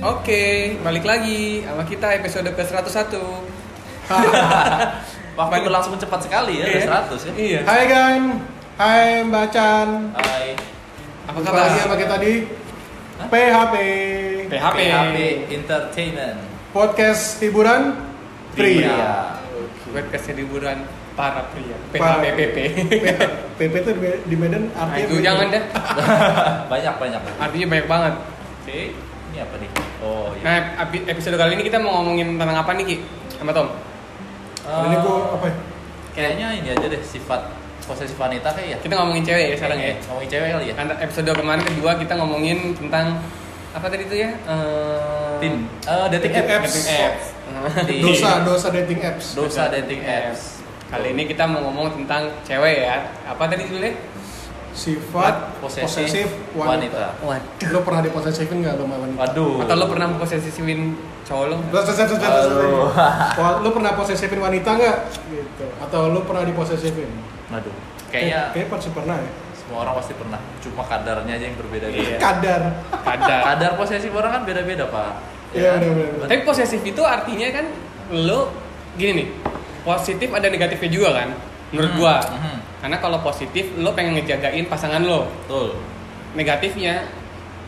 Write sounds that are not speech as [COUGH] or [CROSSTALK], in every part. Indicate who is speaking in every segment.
Speaker 1: Oke, balik lagi sama kita episode ke-101.
Speaker 2: Waktu
Speaker 1: Balik-
Speaker 2: berlangsung cepat sekali ya,
Speaker 1: Iya.
Speaker 2: udah 100 ya.
Speaker 1: Iya.
Speaker 3: Hai Gan, Hai Mbak Chan.
Speaker 2: Hai.
Speaker 1: Apa
Speaker 3: Jumpa
Speaker 1: kabar?
Speaker 3: lagi sama kita di
Speaker 2: Hah?
Speaker 3: PHP
Speaker 1: PHP.
Speaker 2: PHP Entertainment.
Speaker 3: Podcast hiburan pria.
Speaker 2: Iya.
Speaker 1: Podcastnya liburan para pria.
Speaker 3: Para-
Speaker 1: PHPPP.
Speaker 3: PHP itu di Med- di Medan
Speaker 1: Nah,
Speaker 3: artinya
Speaker 1: itu jangan dah.
Speaker 2: [LAUGHS] banyak banyak. Oke,
Speaker 1: Artinya banyak banget.
Speaker 2: ini apa nih? Oh iya.
Speaker 1: Nah, epi- episode kali ini kita mau ngomongin tentang apa nih, Ki? Sama Tom?
Speaker 3: Hari Ini gua
Speaker 1: Oh.
Speaker 3: apa? ya?
Speaker 2: Eh, Kayaknya ini aja deh sifat posesif wanita kayak ya.
Speaker 1: Kita ngomongin cewek ya sekarang ya.
Speaker 2: Ngomongin cewek kali ya.
Speaker 1: Karena episode kemarin kedua kita ngomongin tentang apa tadi itu ya? Eh,
Speaker 2: Tin, eh, dating
Speaker 3: Dating
Speaker 2: apps.
Speaker 3: apps.
Speaker 1: Dating apps. Iya.
Speaker 2: Di-
Speaker 3: Dosa, dosa dating apps.
Speaker 2: Dosa dating apps.
Speaker 1: Kali ini kita mau ngomong tentang cewek ya. Apa tadi judulnya?
Speaker 3: Sifat posesif wanita.
Speaker 1: Waduh.
Speaker 3: Lo pernah diposesifin nggak lo sama wanita?
Speaker 2: Waduh.
Speaker 1: Atau lo pernah posesifin cowok lo?
Speaker 3: Lo ses- ses- ses- ses- ses-
Speaker 2: Aduh.
Speaker 3: Wah, Lo pernah posesifin wanita nggak? Gitu. Atau lo pernah diposesifin?
Speaker 2: Waduh. Kayaknya
Speaker 3: Kayaknya pasti pernah ya.
Speaker 2: semua orang pasti pernah. Cuma kadarnya aja yang berbeda-beda.
Speaker 1: Iya.
Speaker 3: Kadar.
Speaker 1: Pada.
Speaker 2: Kadar posesif orang kan beda-beda, Pak. Ya kan?
Speaker 3: Iya, bener-bener.
Speaker 2: Betul.
Speaker 1: Tapi posesif itu artinya kan lo gini nih. Positif ada negatifnya juga kan? Menurut gua.
Speaker 2: Mhm.
Speaker 1: Karena kalau positif lo pengen ngejagain pasangan lo.
Speaker 2: Betul.
Speaker 1: Negatifnya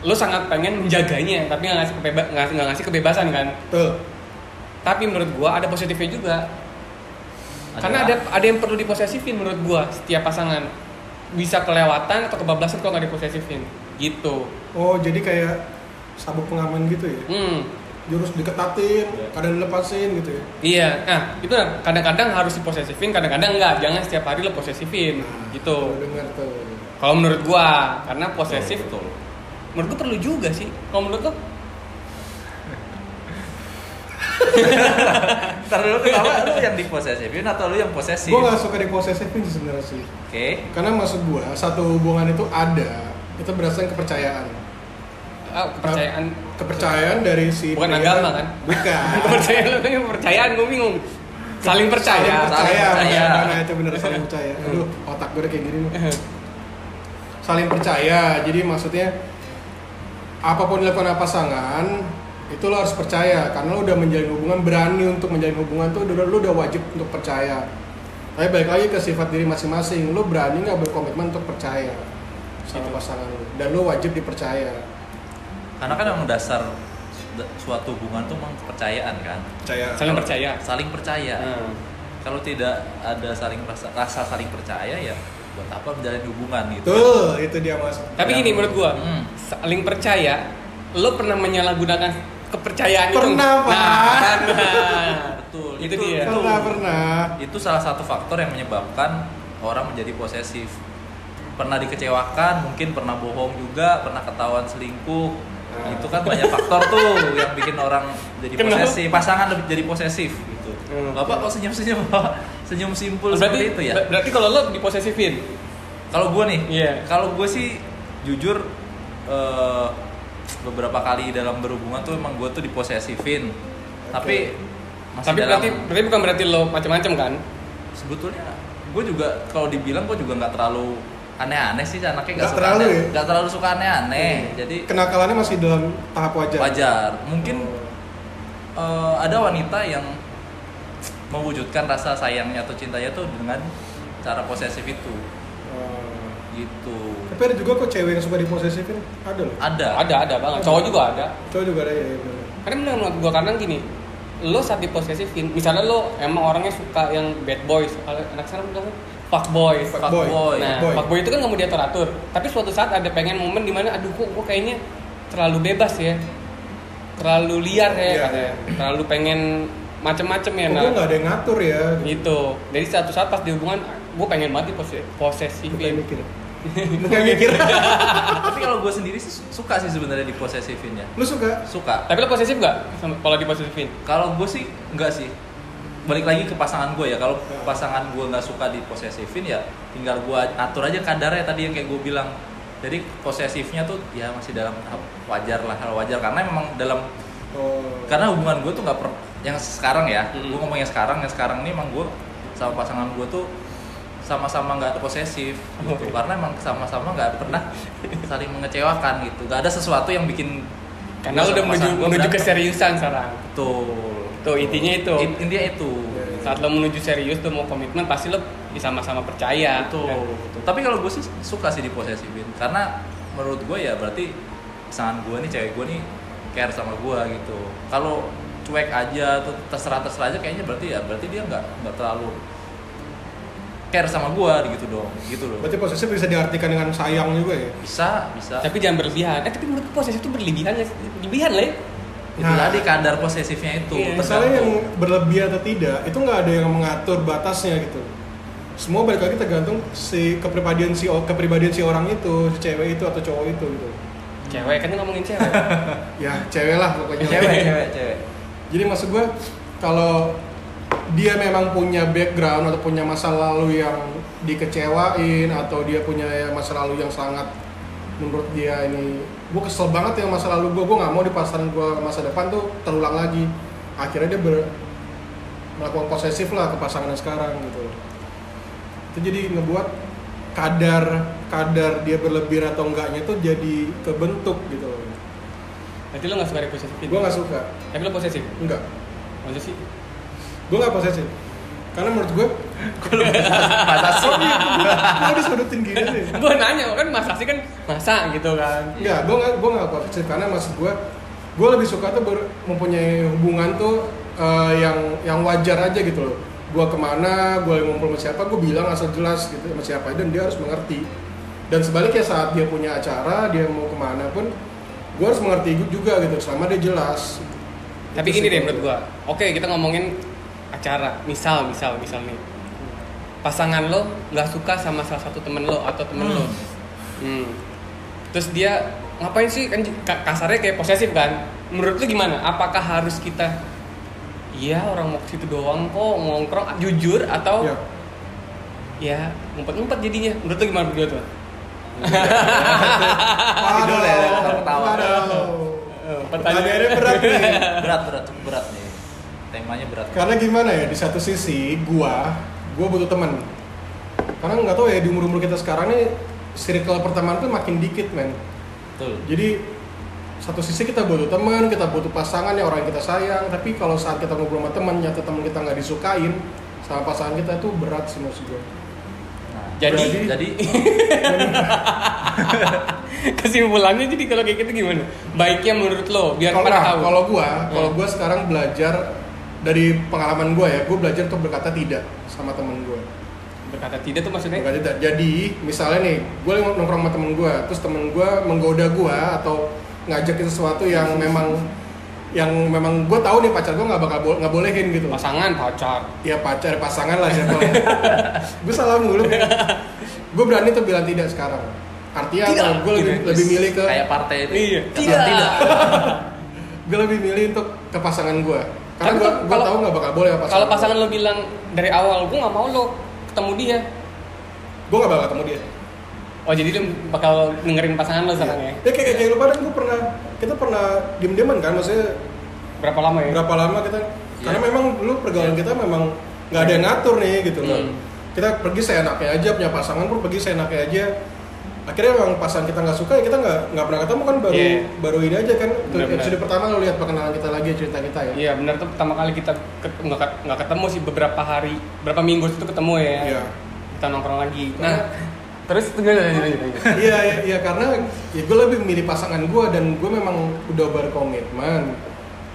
Speaker 1: lo sangat pengen menjaganya tapi nggak ngasih kebeba- nggak nggak ngasih kebebasan kan
Speaker 3: Tuh.
Speaker 1: tapi menurut gua ada positifnya juga karena ada ada yang perlu diposesifin menurut gua setiap pasangan bisa kelewatan atau kebablasan kalau nggak diposesifin gitu
Speaker 3: Oh, jadi kayak sabuk pengaman gitu ya?
Speaker 1: hmm
Speaker 3: jurus diketatin,
Speaker 2: Iya.
Speaker 3: kadang dilepasin gitu ya.
Speaker 1: Iya, nah itu nah, kadang-kadang harus diposesifin, kadang-kadang enggak. Jangan setiap hari lo posesifin,
Speaker 3: Tuh,
Speaker 1: gitu.
Speaker 3: Nah, dengar tuh.
Speaker 1: Kalau menurut gua, karena posesif,
Speaker 2: Betul, betul.
Speaker 1: menurut gua perlu juga sih. Kalau menurut lo, ah,
Speaker 2: Ntar dulu kenapa lu yang diposesifin atau lu yang posesif?
Speaker 3: Gue gak suka diposesifin sih sebenarnya sih.
Speaker 2: Oke.
Speaker 3: Karena maksud gue, satu hubungan itu ada, itu berdasarkan kepercayaan.
Speaker 1: ah, kepercayaan, [LAUGHS]
Speaker 3: Kepercayaan dari si
Speaker 1: Bukan
Speaker 3: pria-
Speaker 1: agama, kan?
Speaker 3: Bukan.
Speaker 1: kepercayaan lo kan kepercayaan, gua bingung. [LAUGHS] Saling percaya.
Speaker 3: Saling percaya.
Speaker 2: saling percaya.
Speaker 3: Nah, itu bener saling percaya. Aduh, otak gue udah kayak gini nih. Saling percaya. Jadi maksudnya apapun yang dilakukan pasangan itu lo harus percaya karena lo udah menjalin hubungan berani untuk menjalin hubungan tuh udah lo udah wajib untuk percaya tapi balik lagi ke sifat diri masing-masing lo berani nggak berkomitmen untuk percaya sama pasangan lo dan lo wajib dipercaya
Speaker 2: Karena kan emang dasar da- suatu hubungan tuh emang kepercayaan kan.
Speaker 3: percaya
Speaker 1: [LAUGHS] Saling percaya.
Speaker 2: Saling percaya.
Speaker 1: Hmm.
Speaker 2: Kalau tidak ada saling rasa, rasa saling percaya ya buat apa menjalin hubungan gitu.
Speaker 3: tuh itu dia mas
Speaker 1: Tapi gini menurut gua,
Speaker 2: Hmm.
Speaker 1: saling percaya, lo pernah menyalahgunakan kepercayaan itu?
Speaker 3: Pernah, Pak.
Speaker 1: Nah, kan, [LAUGHS] nah.
Speaker 2: Betul.
Speaker 1: Itu dia.
Speaker 3: pernah pernah
Speaker 2: Itu salah satu faktor yang menyebabkan orang menjadi posesif. Pernah dikecewakan, mungkin pernah bohong juga, pernah ketahuan selingkuh.
Speaker 3: Nah.
Speaker 2: Itu kan banyak faktor tuh yang bikin orang jadi
Speaker 1: Kenapa?
Speaker 2: posesif, pasangan lebih jadi posesif gitu.
Speaker 1: Hmm.
Speaker 2: Bapak kok senyum-senyum, [LAUGHS] senyum simpul
Speaker 1: Berarti
Speaker 2: seperti itu ya.
Speaker 1: ber- berarti kalau lo diposesifin,
Speaker 2: Kalau gue nih,
Speaker 1: Iya.
Speaker 2: kalau gue sih jujur eh, beberapa kali dalam berhubungan tuh emang gue tuh diposesifin. Tapi masih
Speaker 1: tapi
Speaker 2: dalam-
Speaker 1: berarti berarti bukan berarti lo macam-macam kan?
Speaker 2: sebetulnya gue juga kalau dibilang gue juga nggak terlalu aneh-aneh sih anaknya nggak
Speaker 3: Nggak
Speaker 2: suka
Speaker 3: terlalu
Speaker 2: aneh-
Speaker 3: ya?
Speaker 2: nggak terlalu suka aneh-aneh Eh, jadi
Speaker 3: Hmm. kenakalannya masih dalam tahap wajar
Speaker 2: wajar mungkin
Speaker 3: Oh.
Speaker 2: eh, ada wanita yang mewujudkan rasa sayangnya atau cintanya tuh dengan cara posesif itu
Speaker 3: Oh.
Speaker 2: gitu
Speaker 3: Tapi ada juga kok cewek yang suka diposesifin. Ada loh.
Speaker 2: ada
Speaker 1: Ada ada banget. Cowok juga ada.
Speaker 3: Cowok juga ada ya. ya, bener.
Speaker 1: Karena menurut- menurut gua kadang gini, lo saat diposesifin, misalnya lo emang orangnya suka yang bad boys, kalau anak sekarang bilang fuck boys.
Speaker 3: Fuck
Speaker 2: Fuckboy.
Speaker 3: boy.
Speaker 1: Nah,
Speaker 3: Fuckboy.
Speaker 1: fuckboy itu kan nggak mau diatur atur. Tapi suatu saat ada pengen momen dimana, aduh kok gua kayaknya terlalu bebas ya, terlalu liar ya,
Speaker 3: Iya.
Speaker 1: katanya. terlalu pengen macem-macem ya.
Speaker 3: Kok
Speaker 1: Nah,
Speaker 3: gue nggak ada yang ngatur ya?
Speaker 1: gitu. Jadi suatu saat pas di hubungan, gua pengen banget dipose-
Speaker 3: Bukan
Speaker 1: posesifin.
Speaker 3: mikir. Bukan mikir.
Speaker 2: tapi kalau gue sendiri sih suka sih sebenarnya diposesifin ya
Speaker 3: Lu suka?
Speaker 2: suka
Speaker 1: Tapi lo posesif nggak sama- kalau diposesifin?
Speaker 2: kalau gue sih nggak sih balik lagi ke pasangan gue ya kalau
Speaker 1: Hmm.
Speaker 2: pasangan gue nggak suka diposesifin ya tinggal gue atur aja kadarnya tadi yang kayak gue bilang jadi posesifnya tuh ya masih dalam tahap wajar lah hal wajar karena memang dalam
Speaker 3: Oh.
Speaker 2: karena hubungan gue tuh nggak per yang sekarang ya
Speaker 1: Mm-mm.
Speaker 2: gue ngomong yang sekarang yang sekarang ini emang gue sama pasangan gue tuh sama-sama nggak posesif gitu
Speaker 1: Oke.
Speaker 2: karena emang sama-sama nggak pernah saling mengecewakan gitu nggak ada sesuatu yang bikin
Speaker 1: Karena lu Nah, udah menuju, menuju keseriusan sekarang.
Speaker 2: Tuh.
Speaker 1: Tuh, intinya itu.
Speaker 2: intinya itu.
Speaker 1: Saat lo menuju serius, lo mau komitmen, pasti lo sama-sama percaya.
Speaker 2: Betul, betul. Tapi kalau gue sih suka sih diposesifin karena menurut gue ya berarti pasangan gue nih cewek gue nih care sama gue gitu. Kalau cuek aja tuh terserah terserah aja kayaknya berarti ya berarti dia nggak nggak terlalu care sama gue gitu dong gitu loh.
Speaker 3: Berarti posesif bisa diartikan dengan sayang juga ya.
Speaker 2: Bisa bisa.
Speaker 1: Nah, Tapi jangan berlebihan. Eh, tapi menurut gue posesif itu berlebihan ya. Berlebihan lah ya.
Speaker 2: itu
Speaker 3: Nah.
Speaker 2: tadi kadar posesifnya itu.
Speaker 1: Iya.
Speaker 3: Masalahnya yang
Speaker 2: tergantung.
Speaker 3: berlebih atau tidak itu nggak ada yang mengatur batasnya gitu. Semua balik lagi tergantung si kepribadian si kepribadian si orang itu, si cewek itu atau cowok itu gitu.
Speaker 1: Cewek, kan ini ngomongin [LAUGHS] cewek.
Speaker 3: Ya cewek lah
Speaker 1: Iya.
Speaker 3: pokoknya.
Speaker 2: cewek cewek cewek.
Speaker 3: Jadi maksud gue kalau dia memang punya background atau punya masa lalu yang dikecewain atau dia punya ya masa lalu yang sangat menurut dia ini gue kesel banget ya masa lalu gue gue nggak mau di pasaran gue masa depan tuh terulang lagi akhirnya dia ber- melakukan posesif lah ke pasangannya sekarang gitu itu jadi ngebuat kadar kadar dia berlebih atau enggaknya tuh jadi kebentuk gitu loh
Speaker 1: Berarti lo gak suka diposesifin?
Speaker 3: gue nggak suka
Speaker 1: Tapi lo posesif?
Speaker 3: enggak
Speaker 1: Maksudnya [LAUGHS] sih?
Speaker 3: gue nggak posesif karena menurut gue
Speaker 2: [LAUGHS] Masa sih?
Speaker 3: gue disudutin gini sih
Speaker 1: gue nanya, kan masa sih kan masa gitu kan.
Speaker 3: Enggak, gue nggak gue nggak posesif karena maksud gue gue lebih suka tuh ber- mempunyai hubungan tuh eh, yang yang wajar aja gitu loh gue kemana gue ngumpul sama siapa gue bilang asal jelas gitu sama siapa dan dia harus mengerti dan sebaliknya saat dia punya acara dia mau kemana pun gue harus mengerti juga gitu selama dia jelas
Speaker 1: Tapi
Speaker 3: Itu
Speaker 1: gini
Speaker 3: sih
Speaker 1: deh
Speaker 3: gua.
Speaker 1: menurut gua. Oke, kita ngomongin acara. Misal, misal, misal nih. Pasangan lo nggak suka sama salah satu temen lo atau temen lo. Hmm. Terus dia ngapain sih kan j- ka- kasarnya kayak posesif kan? Menurut lo gimana? Apakah harus kita Iya orang mau ke situ doang kok ngongkrong ah, jujur
Speaker 2: Oh.
Speaker 1: atau
Speaker 2: [LAUGHS]
Speaker 3: Ya.
Speaker 1: ya ngumpet-ngumpet jadinya menurut lo gimana berdua tuh?
Speaker 2: Tidur ya, Oh, ketawa-ketawa.
Speaker 3: Waduh.
Speaker 1: Pertanyaannya
Speaker 3: Pertanyaannya berat nih.
Speaker 2: Iya. berat berat cukup berat nih. Temanya berat.
Speaker 3: Karena gimana ya, di satu sisi gua, gua butuh teman. Karena nggak tahu ya di umur umur kita sekarang nih circle pertemanan tuh makin dikit men.
Speaker 2: Betul.
Speaker 3: Jadi satu sisi kita butuh teman, kita butuh pasangan ya orang yang kita sayang. Tapi kalau saat kita ngobrol sama teman, nyata teman kita nggak disukain sama pasangan kita itu berat sih maksud gua.
Speaker 2: Nah,
Speaker 1: Jadi-
Speaker 2: jadi
Speaker 1: [LAUGHS] Kesimpulannya jadi kalau kayak gitu gimana? Baiknya menurut lo biar
Speaker 3: Kalau
Speaker 1: pada
Speaker 3: nggak,
Speaker 1: tahu.
Speaker 3: kalau gua, kalau
Speaker 1: Hmm.
Speaker 3: gua sekarang belajar dari pengalaman gua ya, gua belajar untuk berkata tidak sama teman gua.
Speaker 1: berkata tidak tuh maksudnya
Speaker 3: Bukan tidak. Jadi misalnya nih, gue nongkrong sama temen gue, terus temen gue menggoda gue atau ngajakin sesuatu yang memang yang memang gue tahu nih pacar gue nggak bakal bo- nggak bolehin gitu.
Speaker 1: pasangan pacar
Speaker 3: Ya pacar pasangan lah siapa. [LAUGHS] gue salah mulu. gue berani tuh bilang tidak sekarang. Artinya
Speaker 1: Tidak.
Speaker 3: gue lebih,
Speaker 1: Gitu.
Speaker 3: lebih milih ke
Speaker 2: kayak partai itu.
Speaker 1: Iya.
Speaker 2: Kata
Speaker 1: Tidak.
Speaker 3: gue lebih milih untuk ke pasangan gue.
Speaker 1: Tapi
Speaker 3: Karena gue
Speaker 1: tuh
Speaker 3: gue
Speaker 1: kalau-
Speaker 3: tahu nggak bakal boleh sama
Speaker 1: kalau pasangan lo bilang dari awal gue nggak mau lo ketemu dia
Speaker 3: gue nggak bakal ketemu dia.
Speaker 1: oh jadi lo bakal dengerin pasangan lo sekarang ya
Speaker 3: Ya kayak kayak lu pada gue pernah kita pernah diem-dieman kan maksudnya
Speaker 1: berapa lama ya
Speaker 3: berapa lama kita karena
Speaker 2: Iya.
Speaker 3: memang dulu pergaulan kita memang nggak ada yang ngatur nih gitu loh
Speaker 1: Hmm.
Speaker 3: kita pergi seenaknya aja punya pasangan pun pergi seenaknya aja akhirnya memang pasangan kita nggak suka ya kita nggak nggak pernah ketemu kan baru
Speaker 1: Iya.
Speaker 3: baru ini aja kan Tuh,
Speaker 1: Benar-benar.
Speaker 3: episode pertama lo lihat perkenalan kita lagi cerita kita ya
Speaker 1: iya benar tuh pertama kali kita ket- nggak ket- nggak ketemu sih beberapa hari berapa minggu itu ketemu ya
Speaker 3: Iya.
Speaker 1: kita nongkrong lagi nah terus tuh gimana lanjut, lanjut, lanjut.
Speaker 3: iya iya iya, karena ya gue lebih memilih pasangan gue dan gue memang udah berkomitmen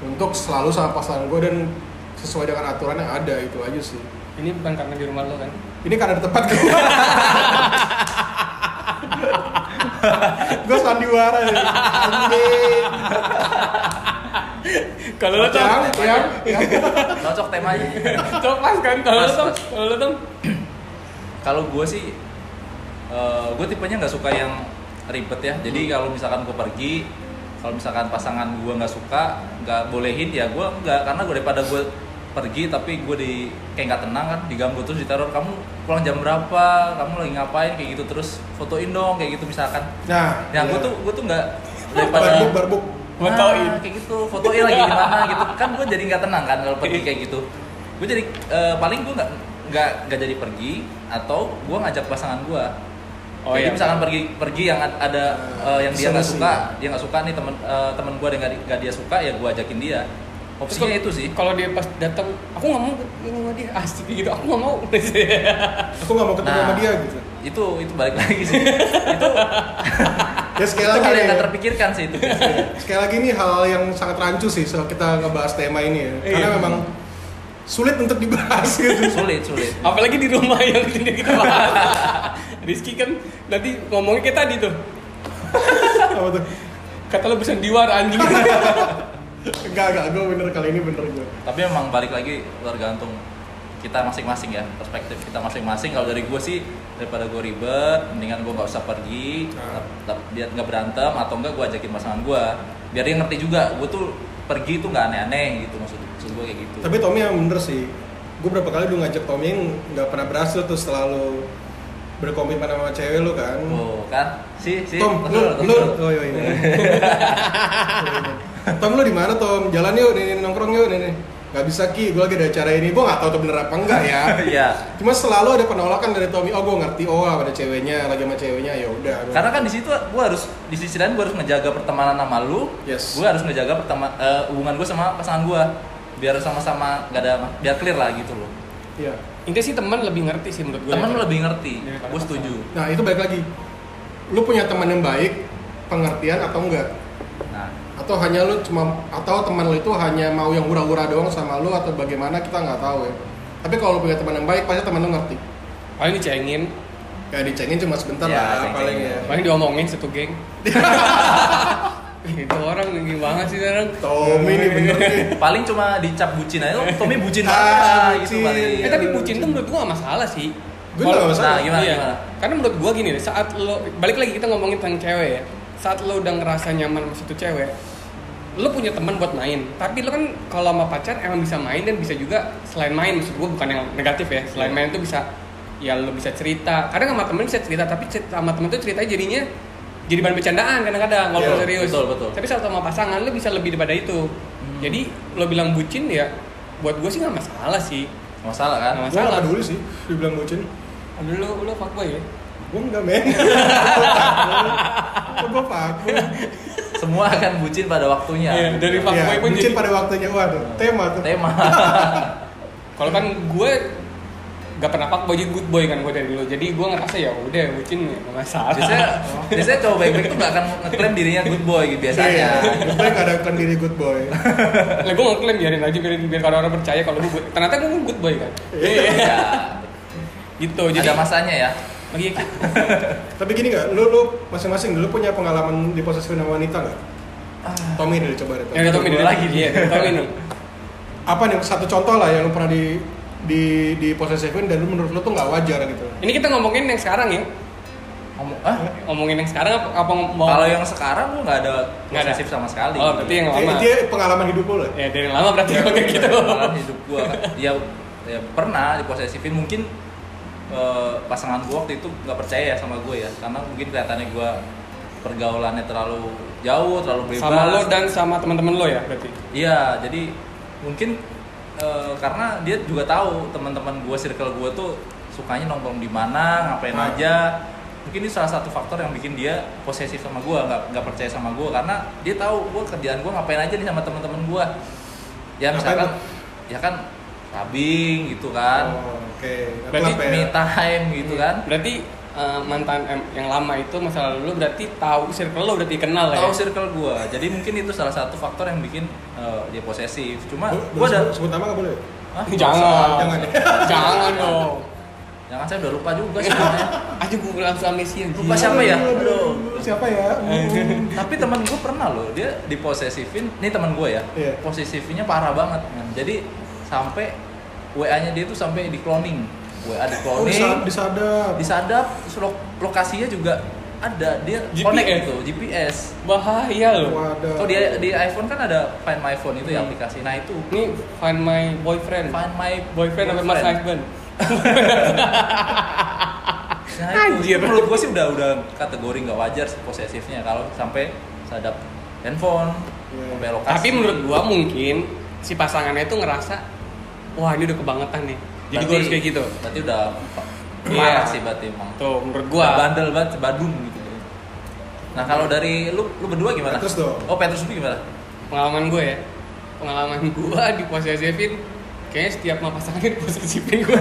Speaker 3: untuk selalu sama pasangan gue dan sesuai dengan aturan yang ada itu aja sih
Speaker 1: ini bukan karena di rumah lo [LAUGHS] kan
Speaker 3: Ini karena di tempat gue. gue sandiwara nih. Anjing.
Speaker 1: kalau lo tuh
Speaker 3: Yang, yang, yang.
Speaker 2: Cocok temanya.
Speaker 1: tuh pas kan kalau lo
Speaker 2: Pas,
Speaker 1: tuh
Speaker 2: pas.
Speaker 1: kalau lo tuh
Speaker 2: Kalau gue sih, gue tipenya nggak suka yang ribet ya. Jadi kalau misalkan gue pergi, kalau misalkan pasangan gue nggak suka, nggak bolehin ya gue nggak. Karena gue daripada gue pergi tapi gue di kayak nggak tenang kan diganggu terus ditaruh kamu pulang jam berapa kamu lagi ngapain kayak gitu terus fotoin dong kayak gitu misalkan
Speaker 3: Nah,
Speaker 2: ya gue
Speaker 3: iya.
Speaker 2: tuh gue tuh nggak daripada
Speaker 3: barbuk, barbuk.
Speaker 2: Nah,
Speaker 1: Fotoin.
Speaker 2: kayak gitu fotoin
Speaker 1: [LAUGHS]
Speaker 2: lagi di mana gitu kan gue jadi nggak tenang kan kalau pergi kayak gitu gue jadi eh, paling gue nggak nggak nggak jadi pergi atau gue ngajak pasangan gue
Speaker 1: Oh, iya.
Speaker 2: Jadi misalkan pergi pergi yang ad- ada
Speaker 3: Ah,
Speaker 2: eh, yang dia nggak
Speaker 3: Solusi.
Speaker 2: suka, dia nggak suka nih temen eh, temen gue yang nggak di- nggak dia suka ya gue ajakin dia. Opsinya itu sih.
Speaker 1: Kalau dia pas datang, aku nggak mau ini sama dia asik gitu. Aku nggak mau. [LAUGHS]
Speaker 3: aku nggak mau ketemu
Speaker 2: Nah.
Speaker 3: sama dia gitu
Speaker 2: Itu itu balik lagi sih. itu
Speaker 3: ya sekali
Speaker 2: itu hal
Speaker 3: lagi
Speaker 2: yang
Speaker 3: nih,
Speaker 2: nggak terpikirkan sih itu. biasanya.
Speaker 3: sekali lagi ini hal yang sangat rancu sih soal kita ngebahas tema ini ya
Speaker 1: Iya.
Speaker 3: karena memang sulit untuk dibahas [LAUGHS] gitu
Speaker 2: sulit sulit.
Speaker 1: Apalagi di rumah yang [LAUGHS] tidak kita bahas. Rizky kan nanti ngomongnya kayak tadi tuh.
Speaker 3: apa tuh
Speaker 1: Kata lo bersandiwara anjing.
Speaker 3: enggak enggak gue bener kali ini bener gue
Speaker 2: Tapi emang balik lagi tergantung kita masing-masing ya perspektif kita masing-masing. Kalau dari gue sih daripada gue ribet, mendingan gue nggak usah pergi,
Speaker 3: Ah.
Speaker 2: tap- tap- biar nggak berantem atau enggak gue ajakin pasangan gue. Biar dia ngerti juga, gue tuh pergi tuh nggak aneh-aneh gitu maksud, maksud gue kayak gitu.
Speaker 3: tapi Tommy yang bener sih gue berapa kali dulu ngajak Tommy yang nggak pernah berhasil tuh selalu berkomitmen sama cewek lu kan
Speaker 2: Oh kan, si si
Speaker 3: Tom,
Speaker 2: betul,
Speaker 3: lu,
Speaker 2: betul,
Speaker 3: lu,
Speaker 2: betul.
Speaker 3: oh, iya,
Speaker 2: [LAUGHS]
Speaker 3: iya. Tom lu di mana Tom? Jalan yuk, nih, nih, nongkrong yuk, nih, nih. Gak bisa ki, gue lagi ada acara ini. Gue gak tahu tuh bener apa enggak ya.
Speaker 2: Iya.
Speaker 3: Cuma selalu ada penolakan dari Tommy. Oh gue ngerti, oh ada ceweknya, lagi sama ceweknya ya udah.
Speaker 2: Karena kan di situ gue harus di sisi lain gue harus ngejaga pertemanan sama lu.
Speaker 3: Yes.
Speaker 2: Gue harus ngejaga pertama eh, hubungan gue sama pasangan gue biar sama-sama nggak ada biar clear lah gitu loh.
Speaker 3: Iya.
Speaker 1: Intinya sih teman lebih ngerti sih menurut gue. ya.
Speaker 2: Temen lu lebih ngerti.
Speaker 1: Iya,
Speaker 2: Gue setuju.
Speaker 3: Nah itu balik lagi. Lu punya teman yang baik, pengertian atau enggak?
Speaker 2: Nah,
Speaker 3: Atau hanya lu cuma atau teman lu itu hanya mau yang hura-hura doang sama lu atau bagaimana kita nggak tahu ya. Tapi kalau lu punya teman yang baik pasti teman lu ngerti.
Speaker 1: Paling dicengin,
Speaker 3: Ya dicengin cuma sebentar
Speaker 2: Iya,
Speaker 3: lah
Speaker 2: ceng-cengin.
Speaker 3: paling ya.
Speaker 1: paling diomongin satu geng. itu orang gini banget sih orang.
Speaker 3: Tommy ini bener nih.
Speaker 2: paling cuma dicap bucin aja. Oh, Tommy
Speaker 1: [LAUGHS]
Speaker 2: bucin
Speaker 3: Ah,
Speaker 2: banget gitu
Speaker 3: bucin.
Speaker 2: paling.
Speaker 1: Eh tapi bucin tuh menurut gua gak masalah sih.
Speaker 3: Gua
Speaker 1: Kalau-
Speaker 3: nggak masalah.
Speaker 2: Nah, gimana
Speaker 1: Iya.
Speaker 2: gimana?
Speaker 1: Karena menurut gua gini deh, saat lo balik lagi kita ngomongin tentang cewek ya. Saat lo udah ngerasa nyaman sama situ cewek, lo punya teman buat main. Tapi lo kan kalau sama pacar emang bisa main dan bisa juga selain main maksud gua bukan yang negatif ya.
Speaker 2: Iya.
Speaker 1: Selain main tuh bisa ya lo bisa cerita. Kadang sama temen bisa cerita, tapi cerita sama temen tuh ceritanya jadinya jadi bahan bercandaan kadang-kadang kalau
Speaker 3: Iya,
Speaker 1: serius.
Speaker 2: betul, betul. Hmm.
Speaker 1: Tapi saat sama pasangan lo bisa lebih daripada itu. Jadi lo bilang bucin ya buat gue sih nggak masalah sih.
Speaker 2: Nggak Masalah kan?
Speaker 1: Nggak
Speaker 3: Gue
Speaker 1: Masalah.
Speaker 3: gak peduli sih dibilang bucin
Speaker 1: Aduh lu lu fuckboy ya?
Speaker 3: Gue enggak [LAUGHS] men Gue paku
Speaker 2: Semua akan bucin pada waktunya.
Speaker 1: Iya, dari
Speaker 3: Ya,
Speaker 1: fuckboy pun
Speaker 3: bucin
Speaker 1: jadi.
Speaker 3: pada waktunya Waduh, tema tuh
Speaker 1: [LAUGHS]
Speaker 2: Tema.
Speaker 1: Kalau kan gue gak pernah fuckboy jadi good boy kan gue dari dulu. Jadi gue ngerasa ya udah bucin ya nggak masalah.
Speaker 2: biasanya biasanya cowok baik-baik tuh nggak akan ngeklaim dirinya good boy gitu biasanya.
Speaker 3: Good boy gak ada iklan diri good boy
Speaker 1: Lah gue ngeklaim biarin aja biarin biar kalau orang percaya kalau gue good. Ternyata gue good boy kan.
Speaker 2: Iya.
Speaker 1: Gitu. Jadi
Speaker 2: Ada masanya ya.
Speaker 1: Lagi-
Speaker 3: Tapi gini gak, lu, lu masing-masing dulu punya pengalaman di posisi sama wanita gak? Tommy dulu coba deh Tommy.
Speaker 1: Yang dari Tommy
Speaker 2: Gue
Speaker 1: nih,
Speaker 2: lagi.
Speaker 1: Iya, dari Tommy nih.
Speaker 3: Apa nih, satu contoh lah yang lu pernah di di di posesifin dan lu menurut lu tuh nggak wajar gitu
Speaker 1: Ini kita ngomongin yang sekarang ya.
Speaker 2: Ngomong, ah,
Speaker 1: Ngomongin yang sekarang apa, apa ngom- mau?
Speaker 2: kalau yang Iya, sekarang lu nggak ada
Speaker 1: Nggak ada.
Speaker 2: posesif sama sekali.
Speaker 1: Oh, berarti yang
Speaker 3: Jadi
Speaker 1: lama.
Speaker 3: dia pengalaman hidup lu lah
Speaker 1: Ya dari lama berarti kalau kayak gitu.
Speaker 2: pengalaman hidup gua ya, ya pernah diposesifin mungkin eh, pasangan gua waktu itu nggak percaya ya sama gua ya karena mungkin kelihatannya gua pergaulannya terlalu jauh terlalu iya. bebas
Speaker 1: Sama lo dan sama teman-teman lo ya berarti.
Speaker 2: iya jadi mungkin eh, karena dia juga tahu teman-teman gua circle gua tuh sukanya nongkrong di mana ngapain
Speaker 3: Ah.
Speaker 2: aja mungkin ini salah satu faktor yang bikin dia posesif sama gua nggak nggak percaya sama gua karena dia tahu gua kerjaan gua ngapain aja nih sama teman-teman gua ya
Speaker 3: Ngapain
Speaker 2: misalkan
Speaker 3: tuh?
Speaker 2: ya kan clubbing gitu kan
Speaker 3: Oh, Oke,
Speaker 1: Berarti
Speaker 3: Kenapa ya? Iya.
Speaker 2: me time gitu kan
Speaker 1: Berarti eh, mantan em, yang lama itu masa lalu lo berarti tahu circle lo berarti kenal
Speaker 3: Iya,
Speaker 1: ya.
Speaker 2: tahu circle gua jadi mungkin itu salah satu faktor yang bikin eh, dia posesif cuma
Speaker 3: Bo-
Speaker 2: gua ada
Speaker 3: boleh
Speaker 2: Oh,
Speaker 3: sebut- sebut nama gak boleh?
Speaker 2: Hah?
Speaker 1: Jangan.
Speaker 3: Jangan ya
Speaker 1: Jangan dong.
Speaker 2: jangan saya udah lupa juga
Speaker 3: [LAUGHS]
Speaker 2: sebenarnya
Speaker 1: Aja gue langsung amnesia. anjing.
Speaker 2: Lupa siapa ya?
Speaker 3: Aduh,
Speaker 2: Aduh.
Speaker 3: Siapa
Speaker 2: [LAUGHS]
Speaker 3: ya? Hmm.
Speaker 2: tapi teman gue pernah loh dia diposesifin ini teman gue ya
Speaker 3: Iya.
Speaker 2: posesifinnya parah banget kan jadi sampai wa nya dia tuh sampai di cloning wa di
Speaker 3: Oh,
Speaker 2: cloning
Speaker 3: disadap, disadap.
Speaker 2: disadap terus lo- lokasinya juga ada dia
Speaker 1: GPS.
Speaker 2: connect gitu GPS
Speaker 1: Bahaya loh.
Speaker 3: Waduh.
Speaker 2: oh dia di iPhone kan ada Find My Phone itu ya
Speaker 1: Hmm.
Speaker 2: aplikasi nah itu
Speaker 1: Ini find my boyfriend.
Speaker 2: Find My
Speaker 1: boyfriend apa mas husband?
Speaker 2: nah itu,
Speaker 1: Anjir.
Speaker 2: itu menurut gue sih udah udah kategori nggak wajar sih posesifnya kalau sampai sadap handphone
Speaker 3: Iya.
Speaker 2: sampai lokasi
Speaker 1: Tapi menurut gua mungkin si pasangannya itu ngerasa wah ini udah kebangetan nih. Jadi gua
Speaker 2: Berarti-
Speaker 1: harus kayak gitu.
Speaker 2: Berarti udah
Speaker 1: Iya.
Speaker 2: Parah sih berarti emang.
Speaker 1: Tuh menurut
Speaker 2: Gua
Speaker 1: gua
Speaker 2: bandel banget, badung gitu. Nah kalau dari lu, lu berdua gimana?
Speaker 3: Petrus dong.
Speaker 2: Oh Petrus lu gimana?
Speaker 1: pengalaman gue ya pengalaman gue di posesifin kayaknya setiap mah pasangan di posesifin gue
Speaker 3: Kayak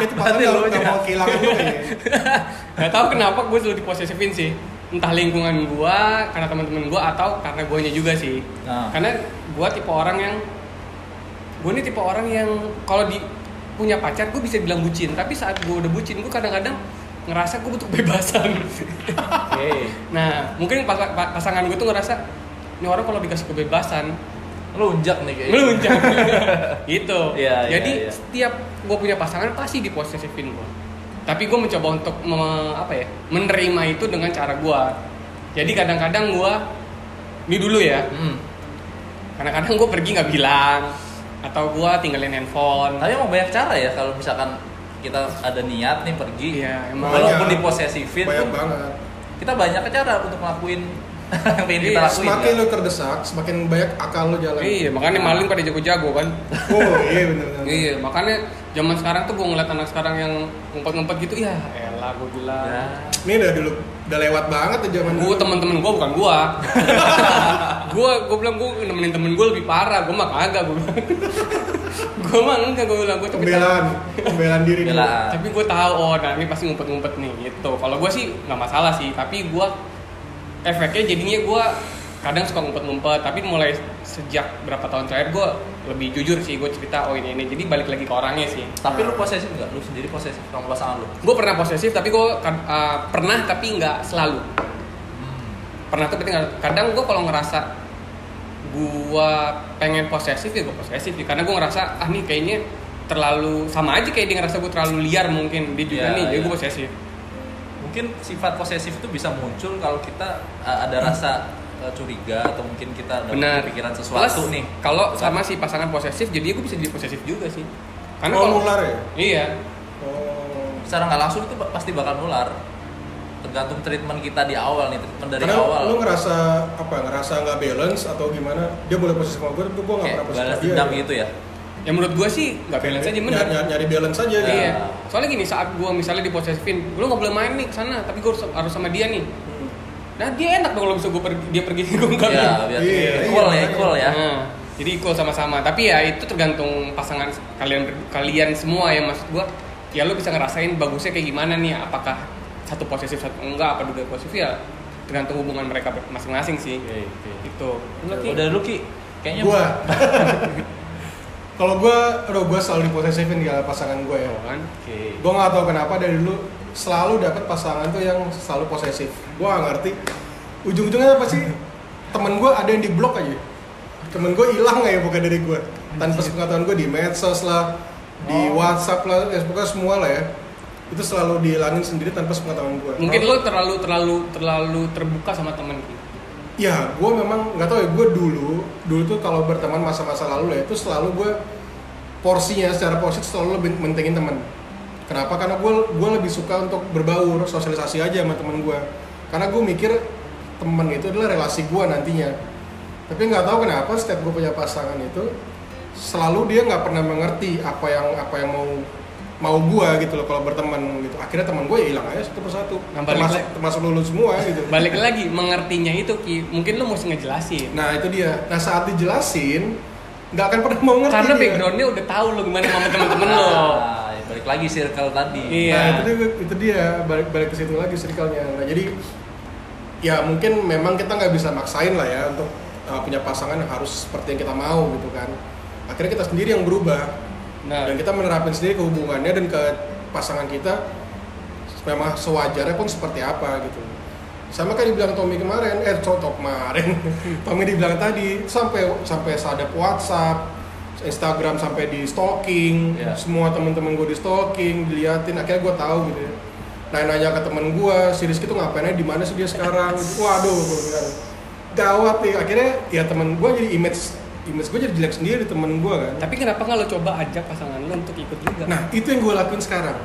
Speaker 2: [LAUGHS]
Speaker 3: itu
Speaker 2: Berarti
Speaker 3: pasangan
Speaker 2: lu
Speaker 3: nggak- nggak
Speaker 2: aja.
Speaker 3: mau kehilangan ya. lu
Speaker 2: [LAUGHS]
Speaker 3: kayaknya.
Speaker 1: [LAUGHS] nggak tahu kenapa gue selalu di posesifin sih entah lingkungan gue karena teman-teman gue atau karena gue juga sih
Speaker 2: Nah. [LAUGHS]
Speaker 1: karena gue tipe orang yang gue ini tipe orang yang kalau di punya pacar gue bisa bilang bucin tapi saat gue udah bucin gue kadang-kadang ngerasa gue butuh kebebasan [LAUGHS]
Speaker 2: Oke.
Speaker 1: Nah, mungkin pas- pa- pasangan gue tuh ngerasa ini orang kalau dikasih kebebasan
Speaker 2: Lu unjak nih kayaknya.
Speaker 1: meluncur
Speaker 2: [LAUGHS]
Speaker 1: gitu.
Speaker 2: Iya, iya,
Speaker 1: Jadi
Speaker 2: iya.
Speaker 1: setiap gue punya pasangan pasti diposesifin gue. Tapi gue mencoba untuk me- apa ya menerima itu dengan cara gue. Jadi kadang-kadang gue ini dulu ya.
Speaker 2: Hmm.
Speaker 1: Kadang-kadang gue pergi nggak bilang atau gue tinggalin handphone.
Speaker 2: Tapi emang banyak cara ya kalau misalkan kita ada niat nih pergi.
Speaker 1: Iya, emang.
Speaker 2: Walaupun
Speaker 3: Banyak.
Speaker 2: diposesifin
Speaker 3: Banyak
Speaker 2: pun
Speaker 3: banget.
Speaker 2: kita banyak cara untuk ngelakuin [LAUGHS] yang pengen kita
Speaker 1: Iya,
Speaker 2: lakuin.
Speaker 3: Semakin
Speaker 2: ya.
Speaker 3: lu terdesak, semakin banyak akal lu jalan.
Speaker 1: Iya, makanya maling pada jago-jago kan.
Speaker 3: Oh iya bener bener.
Speaker 1: Iya, makanya zaman sekarang tuh gue ngeliat anak sekarang yang ngumpet-ngumpet gitu, ya elah gue bilang.
Speaker 2: Ya.
Speaker 3: Ini udah dulu, udah lewat banget tuh zaman
Speaker 1: gue temen-temen gue bukan gue gue gue bilang gue nemenin temen gue lebih parah gue mah kagak gue [LAUGHS] gue mah enggak gue bilang gue tapi
Speaker 3: pembelaan, pembelaan diri. dulu.
Speaker 2: Pembelaan.
Speaker 1: tapi gue tahu oh nah ini pasti ngumpet-ngumpet nih gitu kalau gue sih nggak masalah sih tapi gue efeknya jadinya gue kadang suka ngumpet-ngumpet tapi mulai sejak berapa tahun terakhir gue lebih jujur sih gue cerita oh ini ini jadi balik lagi ke orangnya sih
Speaker 2: Tapi lu posesif nggak? Lu sendiri posesif sama pasangan lu?
Speaker 1: gue pernah posesif tapi gue pernah tapi nggak selalu pernah tuh tapi nggak- kadang gue kalau ngerasa gue pengen posesif ya gue posesif ya. karena gue ngerasa ah nih kayaknya terlalu sama aja kayak dia ngerasa gue terlalu liar mungkin dia juga
Speaker 2: Iya,
Speaker 1: nih jadi
Speaker 2: iya.
Speaker 1: gue posesif
Speaker 2: Mungkin sifat posesif itu bisa muncul kalau kita uh, ada rasa uh, curiga atau mungkin kita ada
Speaker 1: benar
Speaker 2: pikiran sesuatu
Speaker 1: Plus,
Speaker 2: nih.
Speaker 1: kalau sama si pasangan posesif jadi gue bisa jadi posesif juga sih karena
Speaker 3: Oh,
Speaker 1: kalau
Speaker 3: nular ya?
Speaker 1: iya
Speaker 3: Oh.
Speaker 2: secara nggak langsung itu pasti bakal nular. Tergantung treatment kita di awal nih, treatment dari
Speaker 3: Karena
Speaker 2: awal.
Speaker 3: lu ngerasa apa? Ngerasa nggak balance atau gimana? Dia boleh posisi sama gue, tapi gue nggak
Speaker 2: Kayak
Speaker 3: pernah posisi sama
Speaker 2: balas
Speaker 3: dia.
Speaker 2: dendam gitu ya.
Speaker 1: ya menurut gue sih nggak balance aja bener
Speaker 3: Nyari, nyari, nyari balance aja gitu.
Speaker 1: Iya. Soalnya gini saat gua misalnya di posesifin, lu nggak boleh main nih ke sana, tapi gua harus, harus sama dia nih. Nah dia enak dong kalau bisa gua pergi, dia pergi gua nggak
Speaker 2: Iya,
Speaker 1: main.
Speaker 2: biar
Speaker 3: Iya,
Speaker 2: equal
Speaker 3: iya,
Speaker 2: ya, equal ya.
Speaker 1: Nah, jadi equal sama-sama. Tapi ya itu tergantung pasangan kalian ber- kalian semua ya maksud gua. Ya lu bisa ngerasain bagusnya kayak gimana nih, apakah satu posesif satu enggak, apa dua posesif ya tergantung hubungan mereka ber- masing-masing sih. Gitu. Lu, Ki?
Speaker 2: Udah lu Ki, kayaknya
Speaker 3: Gua.
Speaker 2: [LAUGHS]
Speaker 3: Kalau gue, aduh gue selalu diposesifin di pasangan gue ya.
Speaker 1: Tuh kan?
Speaker 2: Oke.
Speaker 3: Gue nggak tahu kenapa dari dulu selalu dapet pasangan tuh yang selalu posesif. Gue nggak ngerti. Ujung-ujungnya apa sih? Temen gue ada yang di blok aja. Temen gue hilang aja bukan dari gue. Tanpa sepengetahuan gue di medsos lah, di
Speaker 2: Oh.
Speaker 3: WhatsApp lah, ya pokoknya semua lah ya. Itu selalu dihilangin sendiri tanpa sepengetahuan gue.
Speaker 1: Mungkin lu terlalu terlalu terlalu terbuka sama temen Ki.
Speaker 3: Ya, gue memang nggak tahu ya. Gue dulu, dulu tuh kalau berteman masa-masa lalu lah itu selalu gue porsinya secara porsi tuh selalu lebih mentingin teman. Kenapa? Karena gue gue lebih suka untuk berbaur, sosialisasi aja sama teman gue. Karena gue mikir teman itu adalah relasi gue nantinya. Tapi nggak tahu kenapa setiap gue punya pasangan itu selalu dia nggak pernah mengerti apa yang apa yang mau mau gue gitu loh kalau berteman gitu. Akhirnya teman gue ya hilang aja satu persatu.
Speaker 1: Nah, balik
Speaker 3: Termasuk,
Speaker 1: lagi.
Speaker 3: termasuk lulus semua gitu.
Speaker 1: Balik lagi mengertinya itu Ki, mungkin lu mesti ngejelasin.
Speaker 3: Nah itu dia. Nah saat dijelasin nggak akan pernah mau ngerti.
Speaker 1: karena
Speaker 3: dia.
Speaker 1: backgroundnya udah tahu lo gimana sama temen-temen
Speaker 2: [LAUGHS]
Speaker 1: lo
Speaker 2: Ah, ya balik lagi circle tadi.
Speaker 1: Iya.
Speaker 3: Nah itu dia, itu dia balik balik ke situ lagi circle-nya. Nah jadi ya mungkin memang kita nggak bisa maksain lah ya untuk uh, punya pasangan yang harus seperti yang kita mau gitu kan. Akhirnya kita sendiri yang berubah
Speaker 1: nah
Speaker 3: dan kita menerapin sendiri ke hubungannya dan ke pasangan kita memang sewajarnya pun seperti apa gitu sama kayak dibilang Tommy kemarin eh contoh kemarin [LAUGHS] Tommy dibilang tadi sampai sampai sadap WhatsApp Instagram sampai di stalking
Speaker 2: Iya.
Speaker 3: semua temen-temen gue di stalking diliatin akhirnya gue tahu gitu ya nanya-nanya ke temen gue si Rizky tuh ngapainnya di mana sih dia sekarang waduh gue bilang gawat nih akhirnya ya temen gue jadi image image gue jadi jelek sendiri di temen gue kan
Speaker 1: tapi kenapa nggak lo coba ajak pasangan lo untuk ikut
Speaker 2: Iya.
Speaker 1: juga
Speaker 3: Nah, itu yang gue lakuin sekarang.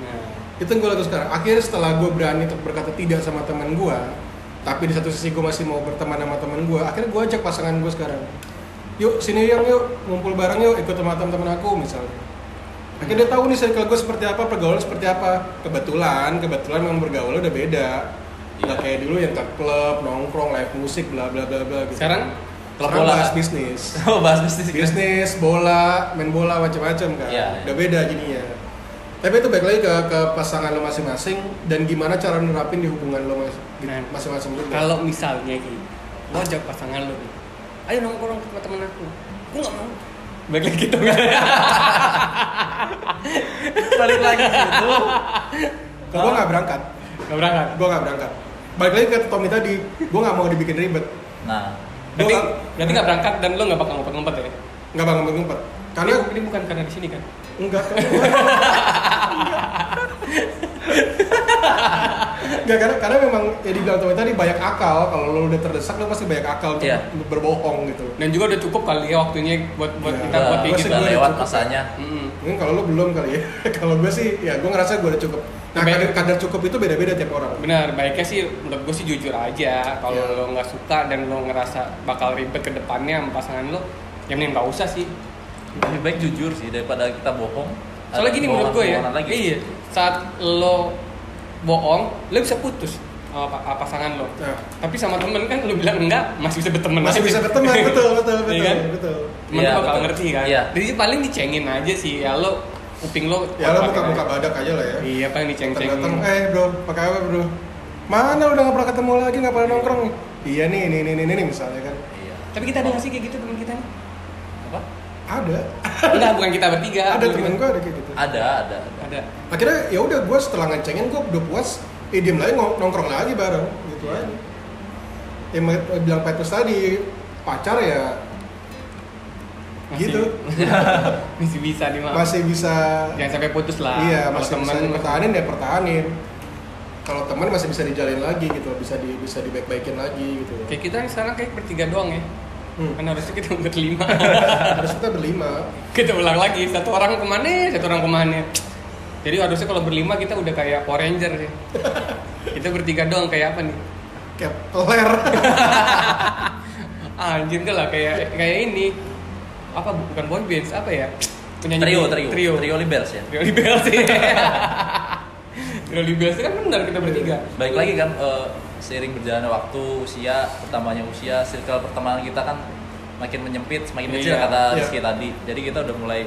Speaker 1: Nah,
Speaker 3: Itu yang gue lakuin sekarang. Akhirnya setelah gue berani untuk berkata tidak sama teman gue, tapi di satu sisi gue masih mau berteman sama teman gue, akhirnya gue ajak pasangan gue sekarang. Yuk, sini yang yuk, ngumpul bareng yuk, ikut sama teman-teman aku misalnya. Akhirnya dia tahu nih circle gue seperti apa, pergaulan seperti apa. Kebetulan, kebetulan memang bergaul udah beda.
Speaker 2: Iya.
Speaker 3: Nggak kayak dulu yang ke klub, nongkrong, live musik, bla bla bla bla. Gitu.
Speaker 1: Sekarang?
Speaker 2: Klub
Speaker 3: Sekarang
Speaker 2: bola.
Speaker 3: bahas bisnis.
Speaker 2: [LAUGHS] Oh, bahas bisnis.
Speaker 3: bisnis, bola, main bola macam-macam kan.
Speaker 2: Iya, iya.
Speaker 3: Udah beda jadinya. Tapi itu balik lagi ke, ke pasangan lo masing-masing dan gimana cara nerapin di hubungan lo mas- di-
Speaker 1: Nah.
Speaker 3: masing-masing dulu.
Speaker 1: Kalau misalnya Ki, lo ajak pasangan lo nih, ayo nongkrong ke tempat temen aku. Aku nggak mau. Baik lagi gitu kan.
Speaker 2: [LAUGHS] Balik lagi ke situ.
Speaker 3: Gue nggak berangkat,
Speaker 1: Gak berangkat.
Speaker 3: gue nggak berangkat. Balik lagi ke Tommy tadi, gue nggak mau dibikin ribet,
Speaker 2: Nah,
Speaker 1: Berarti,
Speaker 3: Gua-
Speaker 1: berarti nggak berangkat dan lo nggak bakal ngumpet-ngumpet ya?
Speaker 3: nggak bakal ngumpet Karena
Speaker 1: Karena
Speaker 2: [LAUGHS]
Speaker 1: ini bukan karena di sini kan.
Speaker 3: enggak Enggak, karena, karena memang ya dibilang Tommy tadi banyak akal kalau lo udah terdesak lo pasti banyak akal untuk
Speaker 2: Iya.
Speaker 3: berbohong gitu.
Speaker 1: Dan juga udah cukup kali ya waktunya buat buat
Speaker 3: Iya.
Speaker 1: kita
Speaker 2: udah,
Speaker 1: buat kayak
Speaker 3: Gua
Speaker 1: gitu.
Speaker 2: udah
Speaker 3: sih,
Speaker 2: lewat
Speaker 3: cukup.
Speaker 2: masanya.
Speaker 1: Mm-mm.
Speaker 3: Mungkin kalau lo belum kali ya. [LAUGHS] kalau gue sih, ya gue ngerasa gue udah cukup. Nah,
Speaker 1: Baik.
Speaker 3: kadar, kadar cukup itu beda-beda tiap orang.
Speaker 1: Benar, baiknya sih menurut gue sih jujur aja. Kalau
Speaker 3: Iya.
Speaker 1: lo nggak suka dan lo ngerasa bakal ribet ke depannya sama pasangan lo, ya mending nggak usah sih.
Speaker 2: Lebih baik jujur sih daripada kita bohong.
Speaker 1: Soalnya
Speaker 2: Ada
Speaker 1: gini menurut gue ya,
Speaker 2: kebohongan-kebohongan Lagi.
Speaker 1: iya, saat lo bohong, lo bisa putus sama pa- pasangan lo.
Speaker 3: Nah,
Speaker 1: Tapi sama temen kan lo bilang enggak, masih bisa berteman
Speaker 3: masih
Speaker 1: aja.
Speaker 3: bisa
Speaker 1: [LAUGHS]
Speaker 3: berteman, betul, betul, betul,
Speaker 1: Iya kan?
Speaker 3: betul.
Speaker 1: Temen
Speaker 2: Iya,
Speaker 1: lo bakal
Speaker 2: betul.
Speaker 1: ngerti kan.
Speaker 2: Iya.
Speaker 1: Jadi paling dicengin aja sih, ya lo kuping lo.
Speaker 3: Ya lo
Speaker 1: kuat-kuatin
Speaker 3: buka-buka
Speaker 1: aja.
Speaker 3: badak aja lah ya.
Speaker 1: Iya, paling diceng-cengin.
Speaker 3: Datang, eh bro, pakai apa bro? Mana udah gak pernah ketemu lagi, gak pernah nongkrong nih? Iya nih, nih, nih, nih, nih, nih, misalnya kan.
Speaker 2: Iya.
Speaker 1: Tapi kita ada nggak sih kayak gitu temen
Speaker 3: [LAUGHS]
Speaker 1: kita nih?
Speaker 2: Apa?
Speaker 3: Ada,
Speaker 1: Enggak, bukan kita bertiga.
Speaker 3: ada
Speaker 1: Bukan
Speaker 3: temen
Speaker 1: kita-
Speaker 3: gue ada kayak gitu.
Speaker 2: Ada, ada, ada.
Speaker 1: Ada.
Speaker 3: Akhirnya ya udah gue setelah ngecengin gue udah puas, eh diem lagi ngong- nongkrong lagi bareng, gitu
Speaker 2: Iya.
Speaker 3: aja. Yang bilang Petrus tadi, pacar ya
Speaker 1: Masih-
Speaker 3: gitu.
Speaker 1: Masih bisa nih, Mak.
Speaker 3: Masih bisa
Speaker 1: Jangan sampai putus lah. Kalau
Speaker 3: Iya, masih bisa dipertahanin ya pertahanin. Kalau teman masih bisa dijalin lagi gitu, bisa di bisa dibaik-baikin lagi gitu.
Speaker 1: Kayak kita sekarang kayak bertiga doang ya.
Speaker 3: Hmm.
Speaker 1: Kan harusnya kita [LAUGHS] berlima.
Speaker 3: Harus kita berlima.
Speaker 1: kita ulang lagi, satu orang kemana, satu orang kemana. Jadi harusnya kalau berlima kita udah kayak Power Ranger ya. kita bertiga doang kayak apa nih?
Speaker 3: Kayak peler.
Speaker 1: Ah, anjir enggak lah kayak kayak ini. Apa bukan boy bands apa ya? Penyanyi
Speaker 2: Trio, trio,
Speaker 1: Trio.
Speaker 2: trio, Libels ya.
Speaker 1: Trio Libel sih. Trio Libel sih kan benar kita bertiga.
Speaker 2: Baik lagi kan eh, seiring berjalannya waktu, usia, bertambahnya usia, circle pertemanan kita kan makin menyempit, semakin kecil
Speaker 1: Iya.
Speaker 2: kata
Speaker 3: Iya.
Speaker 2: Rizky tadi. Jadi kita udah mulai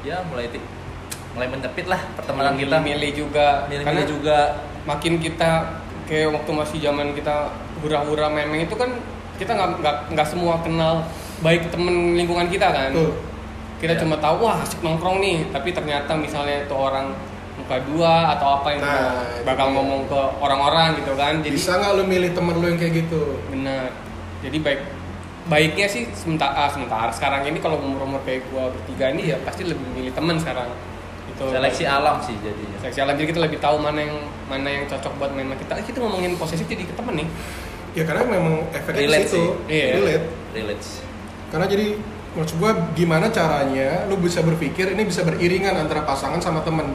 Speaker 2: ya mulai ti- mulai menyempit lah pertemanan kita.
Speaker 1: milih juga.
Speaker 2: Milih-milih
Speaker 1: Karena
Speaker 2: juga.
Speaker 1: makin kita kayak waktu masih zaman kita hura-hura main-main itu kan kita nggak nggak nggak semua kenal baik temen lingkungan kita kan
Speaker 3: [LAUGHS] Tuh.
Speaker 1: kita
Speaker 2: Iya.
Speaker 1: cuma tahu wah asik nongkrong nih tapi ternyata misalnya itu orang muka dua atau apa yang
Speaker 3: Nah,
Speaker 1: bakal-
Speaker 3: itu
Speaker 1: bakal
Speaker 3: dia.
Speaker 1: ngomong ke orang-orang gitu kan jadi
Speaker 3: Bisa nggak lu milih temen lu yang kayak gitu?
Speaker 1: benar jadi baik baiknya sih sementara sementara sekarang ini kalau umur umur kayak gua bertiga ini ya pasti lebih milih temen sekarang itu
Speaker 2: Seleksi alam sih jadinya.
Speaker 1: seleksi alam jadi kita lebih tahu mana yang mana yang cocok buat main sama kita eh, kita ngomongin posesif jadi ke temen nih
Speaker 3: Ya karena memang efeknya di
Speaker 2: Relate
Speaker 3: situ.
Speaker 1: sih. Iya.
Speaker 3: Relate.
Speaker 2: Relates.
Speaker 3: Karena jadi maksud gua gimana caranya lu bisa berpikir ini bisa beriringan antara pasangan sama temen.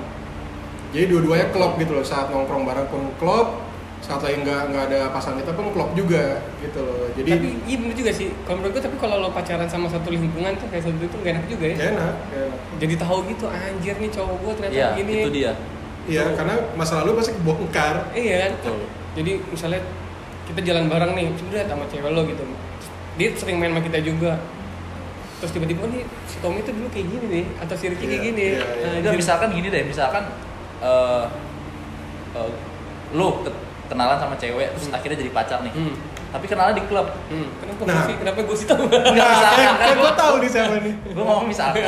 Speaker 3: Jadi dua-duanya klop gitu loh saat nongkrong bareng pun klop, saat lagi nggak nggak ada pasangan kita pun klop juga gitu loh. Jadi
Speaker 1: tapi iya bener juga sih kalau menurut gue tapi kalau lo pacaran sama satu lingkungan tuh kayak satu itu gak enak juga ya
Speaker 3: gak enak. gak enak.
Speaker 1: jadi tahu gitu anjir nih cowok gue ternyata
Speaker 2: Iya,
Speaker 1: begini
Speaker 2: itu dia.
Speaker 3: Iya,
Speaker 1: Betul.
Speaker 3: karena masa lalu pasti kebongkar.
Speaker 1: iya kan
Speaker 2: Betul.
Speaker 1: jadi misalnya kita jalan bareng nih sudah sama cewek lo gitu dia sering main sama kita juga terus tiba-tiba "Oh, nih si Tommy tuh dulu kayak gini nih atau si Ricky
Speaker 3: Iya,
Speaker 1: kayak gini Nah,
Speaker 3: iya, iya.
Speaker 1: Anjir.
Speaker 2: Enggak, misalkan gini deh, misalkan eh eh, lo ke- kenalan sama cewek terus akhirnya jadi pacar nih.
Speaker 1: hmm.
Speaker 2: Tapi kenalnya di klub.
Speaker 1: hmm. kenapa
Speaker 3: Nah.
Speaker 1: gue sih kenapa gue sih Tommy
Speaker 2: Enggak
Speaker 3: Nah,
Speaker 2: misalkan
Speaker 3: eh,
Speaker 2: kan
Speaker 3: eh, gua tahu nih siapa nih.
Speaker 2: gue ngomong misalkan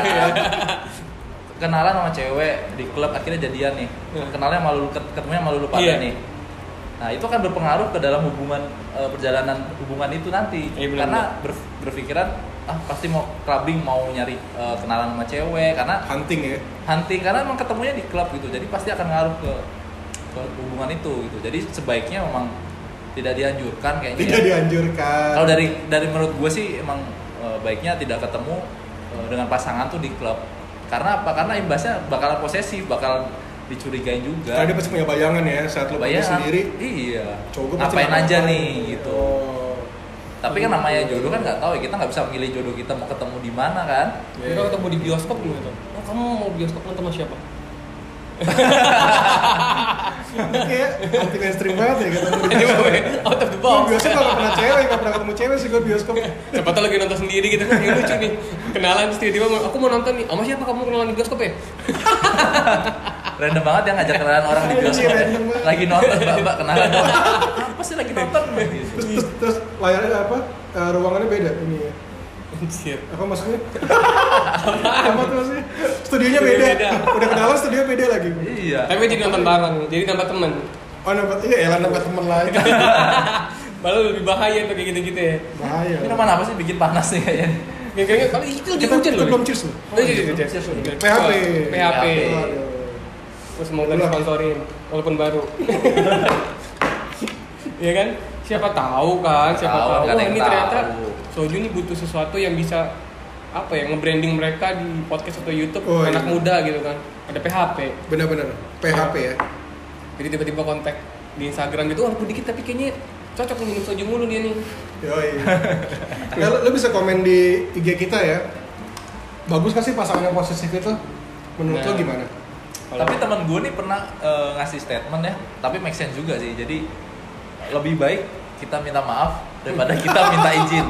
Speaker 2: kenalan sama cewek di klub akhirnya jadian nih
Speaker 1: Hmm.
Speaker 2: kenalnya malu ketemunya malu lupa
Speaker 1: Iya.
Speaker 2: nih nah itu akan berpengaruh ke dalam hubungan eh, perjalanan hubungan itu nanti
Speaker 1: Iya, benar,
Speaker 2: karena ber- berpikiran ah pasti mau clubbing mau nyari eh, kenalan sama cewek karena
Speaker 3: Hunting ya.
Speaker 2: hunting karena emang ketemunya di klub gitu jadi pasti akan ngaruh ke, ke hubungan itu gitu jadi sebaiknya memang tidak dianjurkan kayaknya
Speaker 3: Tidak
Speaker 2: ya.
Speaker 3: dianjurkan.
Speaker 2: Kalau dari dari menurut gue sih emang eh, baiknya tidak ketemu eh, dengan pasangan tuh di klub. Karena apa? Karena imbasnya bakalan posesif, bakal dicurigain juga.
Speaker 3: Karena dia pasti punya bayangan ya saat lu pergi
Speaker 2: Bayang-
Speaker 3: sendiri.
Speaker 2: Iya.
Speaker 3: Cowok gua pasti
Speaker 2: Ngapain
Speaker 3: nggak
Speaker 2: aja
Speaker 3: ngapain.
Speaker 2: nih gitu.
Speaker 3: Oh.
Speaker 2: tapi kan namanya jodoh kan nggak tahu ya kita nggak bisa milih jodoh kita mau ketemu di mana kan
Speaker 1: Kita
Speaker 3: iya.
Speaker 1: ketemu di bioskop gimana tuh? Oh kamu mau bioskop nonton sama siapa? [LAUGHS]
Speaker 3: iya. Ini kayak anti mainstream banget ya kata
Speaker 1: Ini mau main out of the
Speaker 3: Gue
Speaker 1: Oh, box.
Speaker 3: biasanya kalau pernah cewek, gak pernah ketemu cewek sih gue bioskop
Speaker 1: Siapa tau lagi nonton sendiri gitu kan, yang lucu nih Kenalan terus tiba-tiba, mau, aku mau nonton nih, sama siapa kamu kenalan di bioskop ya? [LAUGHS]
Speaker 2: random banget ya ngajak kenalan orang di bioskop
Speaker 3: Iya, random banget. Iya.
Speaker 2: lagi nonton mbak mbak kenalan apa sih lagi nonton Mbak? Gitu.
Speaker 3: Terus, terus, terus layarnya apa? Eh, ruangannya beda ini ya
Speaker 1: Anjir
Speaker 3: Apa maksudnya? apa tuh maksudnya? Studionya beda
Speaker 1: Beda.
Speaker 3: Udah kenalan studio beda lagi
Speaker 2: iya
Speaker 1: Tapi jadi nonton bareng, jadi nambah temen
Speaker 3: Oh nambah, iya elah nambah temen lagi
Speaker 1: Malah lebih bahaya tuh kayak gitu-gitu ya
Speaker 3: Bahaya
Speaker 2: ini mana apa sih bikin panas nih kayaknya
Speaker 1: Yang kayaknya, kalau itu lagi
Speaker 3: Kita,
Speaker 1: hujan
Speaker 3: kita
Speaker 1: loh
Speaker 3: belum cheers loh
Speaker 1: Oh iya, iya, iya, iya.
Speaker 2: Cheers, cheers.
Speaker 3: PHP.
Speaker 1: PHP
Speaker 3: Waduh.
Speaker 1: Terus semoga disponsorin, walaupun baru [LAUGHS] Iya kan? Siapa tahu kan, siapa
Speaker 2: Tahu,
Speaker 1: tahu,
Speaker 2: nggak ada
Speaker 1: Wah,
Speaker 2: yang
Speaker 1: ini ternyata
Speaker 2: tahu.
Speaker 1: Soju ini butuh sesuatu yang bisa apa ya nge-branding mereka di podcast atau YouTube
Speaker 3: Oh, iya.
Speaker 1: anak muda gitu kan. Ada PHP.
Speaker 3: Benar-benar PHP ya
Speaker 1: Jadi tiba-tiba kontak di Instagram gitu, walaupun dikit tapi kayaknya cocok minum soju mulu dia nih.
Speaker 3: [LAUGHS] Yoi. ya, lu, lu bisa komen di IG kita ya. Bagus gak sih pasangan yang posesif itu? Menurut
Speaker 1: Nah.
Speaker 3: lu gimana?
Speaker 2: Tapi [LAUGHS] teman gue nih pernah eh, ngasih statement ya, tapi make sense juga sih. Jadi lebih baik kita minta maaf daripada kita minta izin.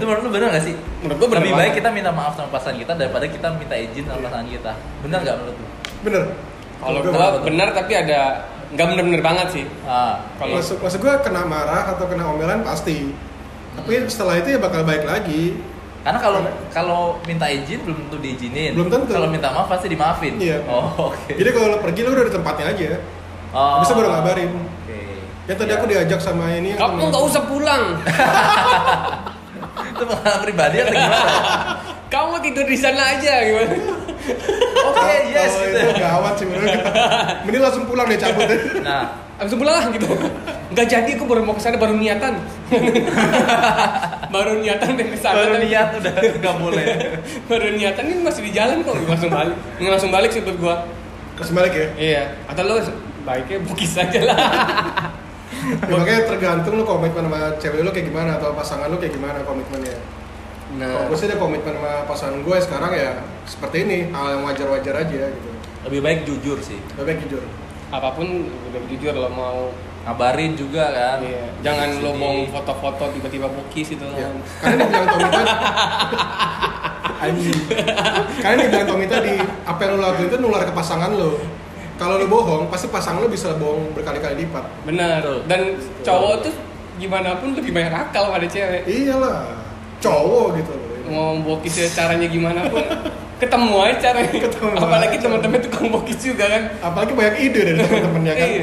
Speaker 2: Itu menurut lu bener gak sih?
Speaker 1: Iya. Menurut gua bener
Speaker 2: lebih
Speaker 1: banget. Iya.
Speaker 2: baik kita minta maaf sama pasangan kita daripada kita minta izin sama pasangan kita. Bener gak menurut lu?
Speaker 3: Bener.
Speaker 1: Kalau
Speaker 3: Gua-
Speaker 1: gua benar tapi ada nggak benar-benar banget sih.
Speaker 2: Ah,
Speaker 1: Kalau
Speaker 3: maksud, maksud gue kena marah atau kena omelan pasti. Tapi setelah itu ya bakal baik lagi.
Speaker 2: karena kalau kalau minta izin belum tentu diizinin.
Speaker 3: Belum tentu.
Speaker 2: Kalau minta maaf pasti dimaafin.
Speaker 3: Iya.
Speaker 2: Oh, oke.
Speaker 3: Jadi kalau lu pergi lu udah di tempatnya aja.
Speaker 2: Oh.
Speaker 3: Bisa baru ngabarin.
Speaker 2: Oke.
Speaker 3: Ya tadi
Speaker 2: Iya.
Speaker 3: aku diajak sama ini.
Speaker 1: kamu
Speaker 3: temen-
Speaker 1: nggak usah pulang,
Speaker 2: [LAUGHS] itu pengalaman pribadi atau
Speaker 3: [LAUGHS]
Speaker 2: gimana?
Speaker 1: kamu tidur di sana aja gimana?
Speaker 2: Oke,
Speaker 3: Kalau-
Speaker 2: yes
Speaker 3: kalau
Speaker 2: gitu.
Speaker 3: Oh, Eh, Itu gawat sih menurut gua. Mending langsung pulang deh cabut deh.
Speaker 2: Nah,
Speaker 1: Abis itu pulang lah gitu. Nggak jadi, aku baru mau kesana baru niatan. baru niatan dan kesana.
Speaker 2: baru
Speaker 1: tapi-
Speaker 2: niat udah nggak boleh.
Speaker 1: baru niatan ini masih di jalan kok langsung balik. Nggak langsung balik sih buat gua.
Speaker 3: Terus balik ya.
Speaker 1: Iya. Atau lo baiknya bukis aja lah.
Speaker 3: ya makanya tergantung lu komitmen sama cewek lu kayak gimana atau pasangan lu kayak gimana komitmennya.
Speaker 2: Nah. Eh.
Speaker 3: Kalau gue sih ada komitmen sama pasangan gue sekarang ya seperti ini hal yang wajar-wajar aja gitu.
Speaker 2: lebih baik jujur sih
Speaker 3: Lebih baik jujur.
Speaker 1: apapun udah jujur lo mau
Speaker 2: ngabarin juga kan
Speaker 1: Iya, jangan lo
Speaker 2: Sini.
Speaker 1: mau foto-foto tiba-tiba bokis itu
Speaker 2: Iya.
Speaker 3: Ya. Karena dia bilang Tommy tadi. Anjing. Karena dia bilang Tommy tadi apa yang lo lakuin itu nular ke pasangan lo. Kalau lo bohong, pasti pasangan lo bisa bohong berkali-kali lipat.
Speaker 1: bener
Speaker 2: Betul.
Speaker 1: dan cowok tuh gimana pun lebih banyak akal pada cewek
Speaker 3: Iyalah, cowok gitu loh.
Speaker 1: mau bokis ya, caranya gimana
Speaker 3: [LAUGHS]
Speaker 1: pun ketemu aja caranya
Speaker 3: Ketemu
Speaker 1: apalagi
Speaker 3: aja.
Speaker 1: teman-teman tukang bokis juga kan
Speaker 3: Apalagi banyak ide dari temen-temennya kan.
Speaker 2: Iya.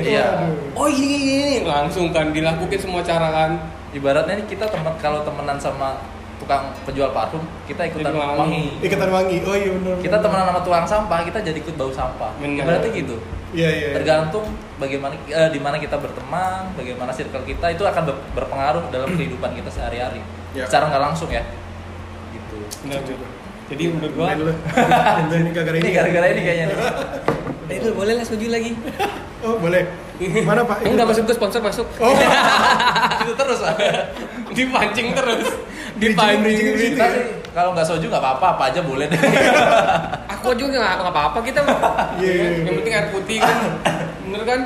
Speaker 3: Waduh.
Speaker 1: oh iya, iya, iya. langsung kan dilakukan semua cara kan
Speaker 2: ibaratnya nih kita teman kalau temenan sama tukang penjual parfum kita ikutan
Speaker 1: Jadi wangi.
Speaker 2: wangi
Speaker 3: Iketan wangi. Oh iya benar.
Speaker 2: kita temenan sama tukang sampah kita jadi ikut bau sampah
Speaker 1: Bener.
Speaker 2: ibaratnya gitu
Speaker 3: Iya iya.
Speaker 2: tergantung bagaimana eh, di mana kita berteman bagaimana circle kita itu akan ber- berpengaruh dalam kehidupan kita sehari-hari
Speaker 3: Ya.
Speaker 2: secara nggak langsung ya gitu
Speaker 1: bener jadi menurut gua
Speaker 3: Main lu.
Speaker 1: [LAUGHS]
Speaker 3: Ini gara-gara
Speaker 2: ini
Speaker 3: ini.
Speaker 2: gara-gara ini kayaknya nih
Speaker 1: eh [LAUGHS] itu boleh lah soju lagi
Speaker 3: Oh boleh. Mana pak?
Speaker 1: enggak maksud gua sponsor masuk
Speaker 3: Oh.
Speaker 2: [LAUGHS] itu terus lah
Speaker 1: [LAUGHS] dipancing
Speaker 3: [LAUGHS]
Speaker 1: terus
Speaker 3: Bridging, bridging,
Speaker 1: dipancing
Speaker 3: bridging.
Speaker 2: kita sih kalau nggak soju nggak apa-apa apa aja boleh deh
Speaker 1: [LAUGHS] aku juga nggak nggak apa-apa kita mah
Speaker 3: [LAUGHS] Iya, iya, iya.
Speaker 1: yang penting air putih kan bener
Speaker 3: [LAUGHS]
Speaker 1: kan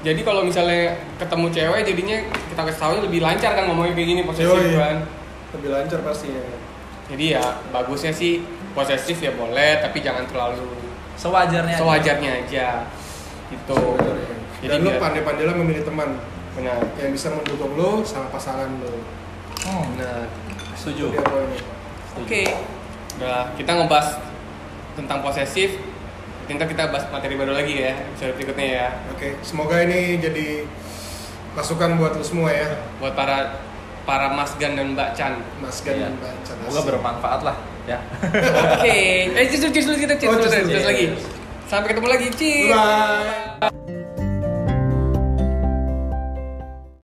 Speaker 1: jadi kalau misalnya ketemu cewek jadinya kita kasih tahunya lebih lancar kan ngomongnya kayak gini posesif
Speaker 3: Yoi.
Speaker 1: kan
Speaker 3: lebih lancar pastinya
Speaker 1: jadi ya bagusnya sih posesif ya boleh tapi jangan terlalu
Speaker 2: sewajarnya aja.
Speaker 1: sewajarnya aja gitu
Speaker 3: dan
Speaker 1: jadi
Speaker 3: lu
Speaker 1: biar-
Speaker 3: pandai-pandai lah memilih teman
Speaker 1: benar
Speaker 3: yang bisa mendukung lu sama pasangan lu
Speaker 2: Hmm,
Speaker 1: benar
Speaker 2: setuju
Speaker 3: Itu dia poinnya.
Speaker 1: oke udah kita ngebahas tentang posesif nanti kita bahas materi baru lagi ya episode berikutnya ya
Speaker 3: oke semoga ini jadi masukan buat lu semua ya
Speaker 1: buat para para Mas Gan dan Mbak Chan
Speaker 3: mas Gan
Speaker 2: Iya.
Speaker 3: dan Mbak Cadas.
Speaker 2: Semoga bermanfaat lah ya.
Speaker 1: Oke. Eh, cheers, cheers, cheers, kita cheers,
Speaker 3: Oh, cheers,
Speaker 1: cheers, cheers
Speaker 2: cheers.
Speaker 1: lagi. Sampai ketemu lagi, cheers.
Speaker 3: Bye.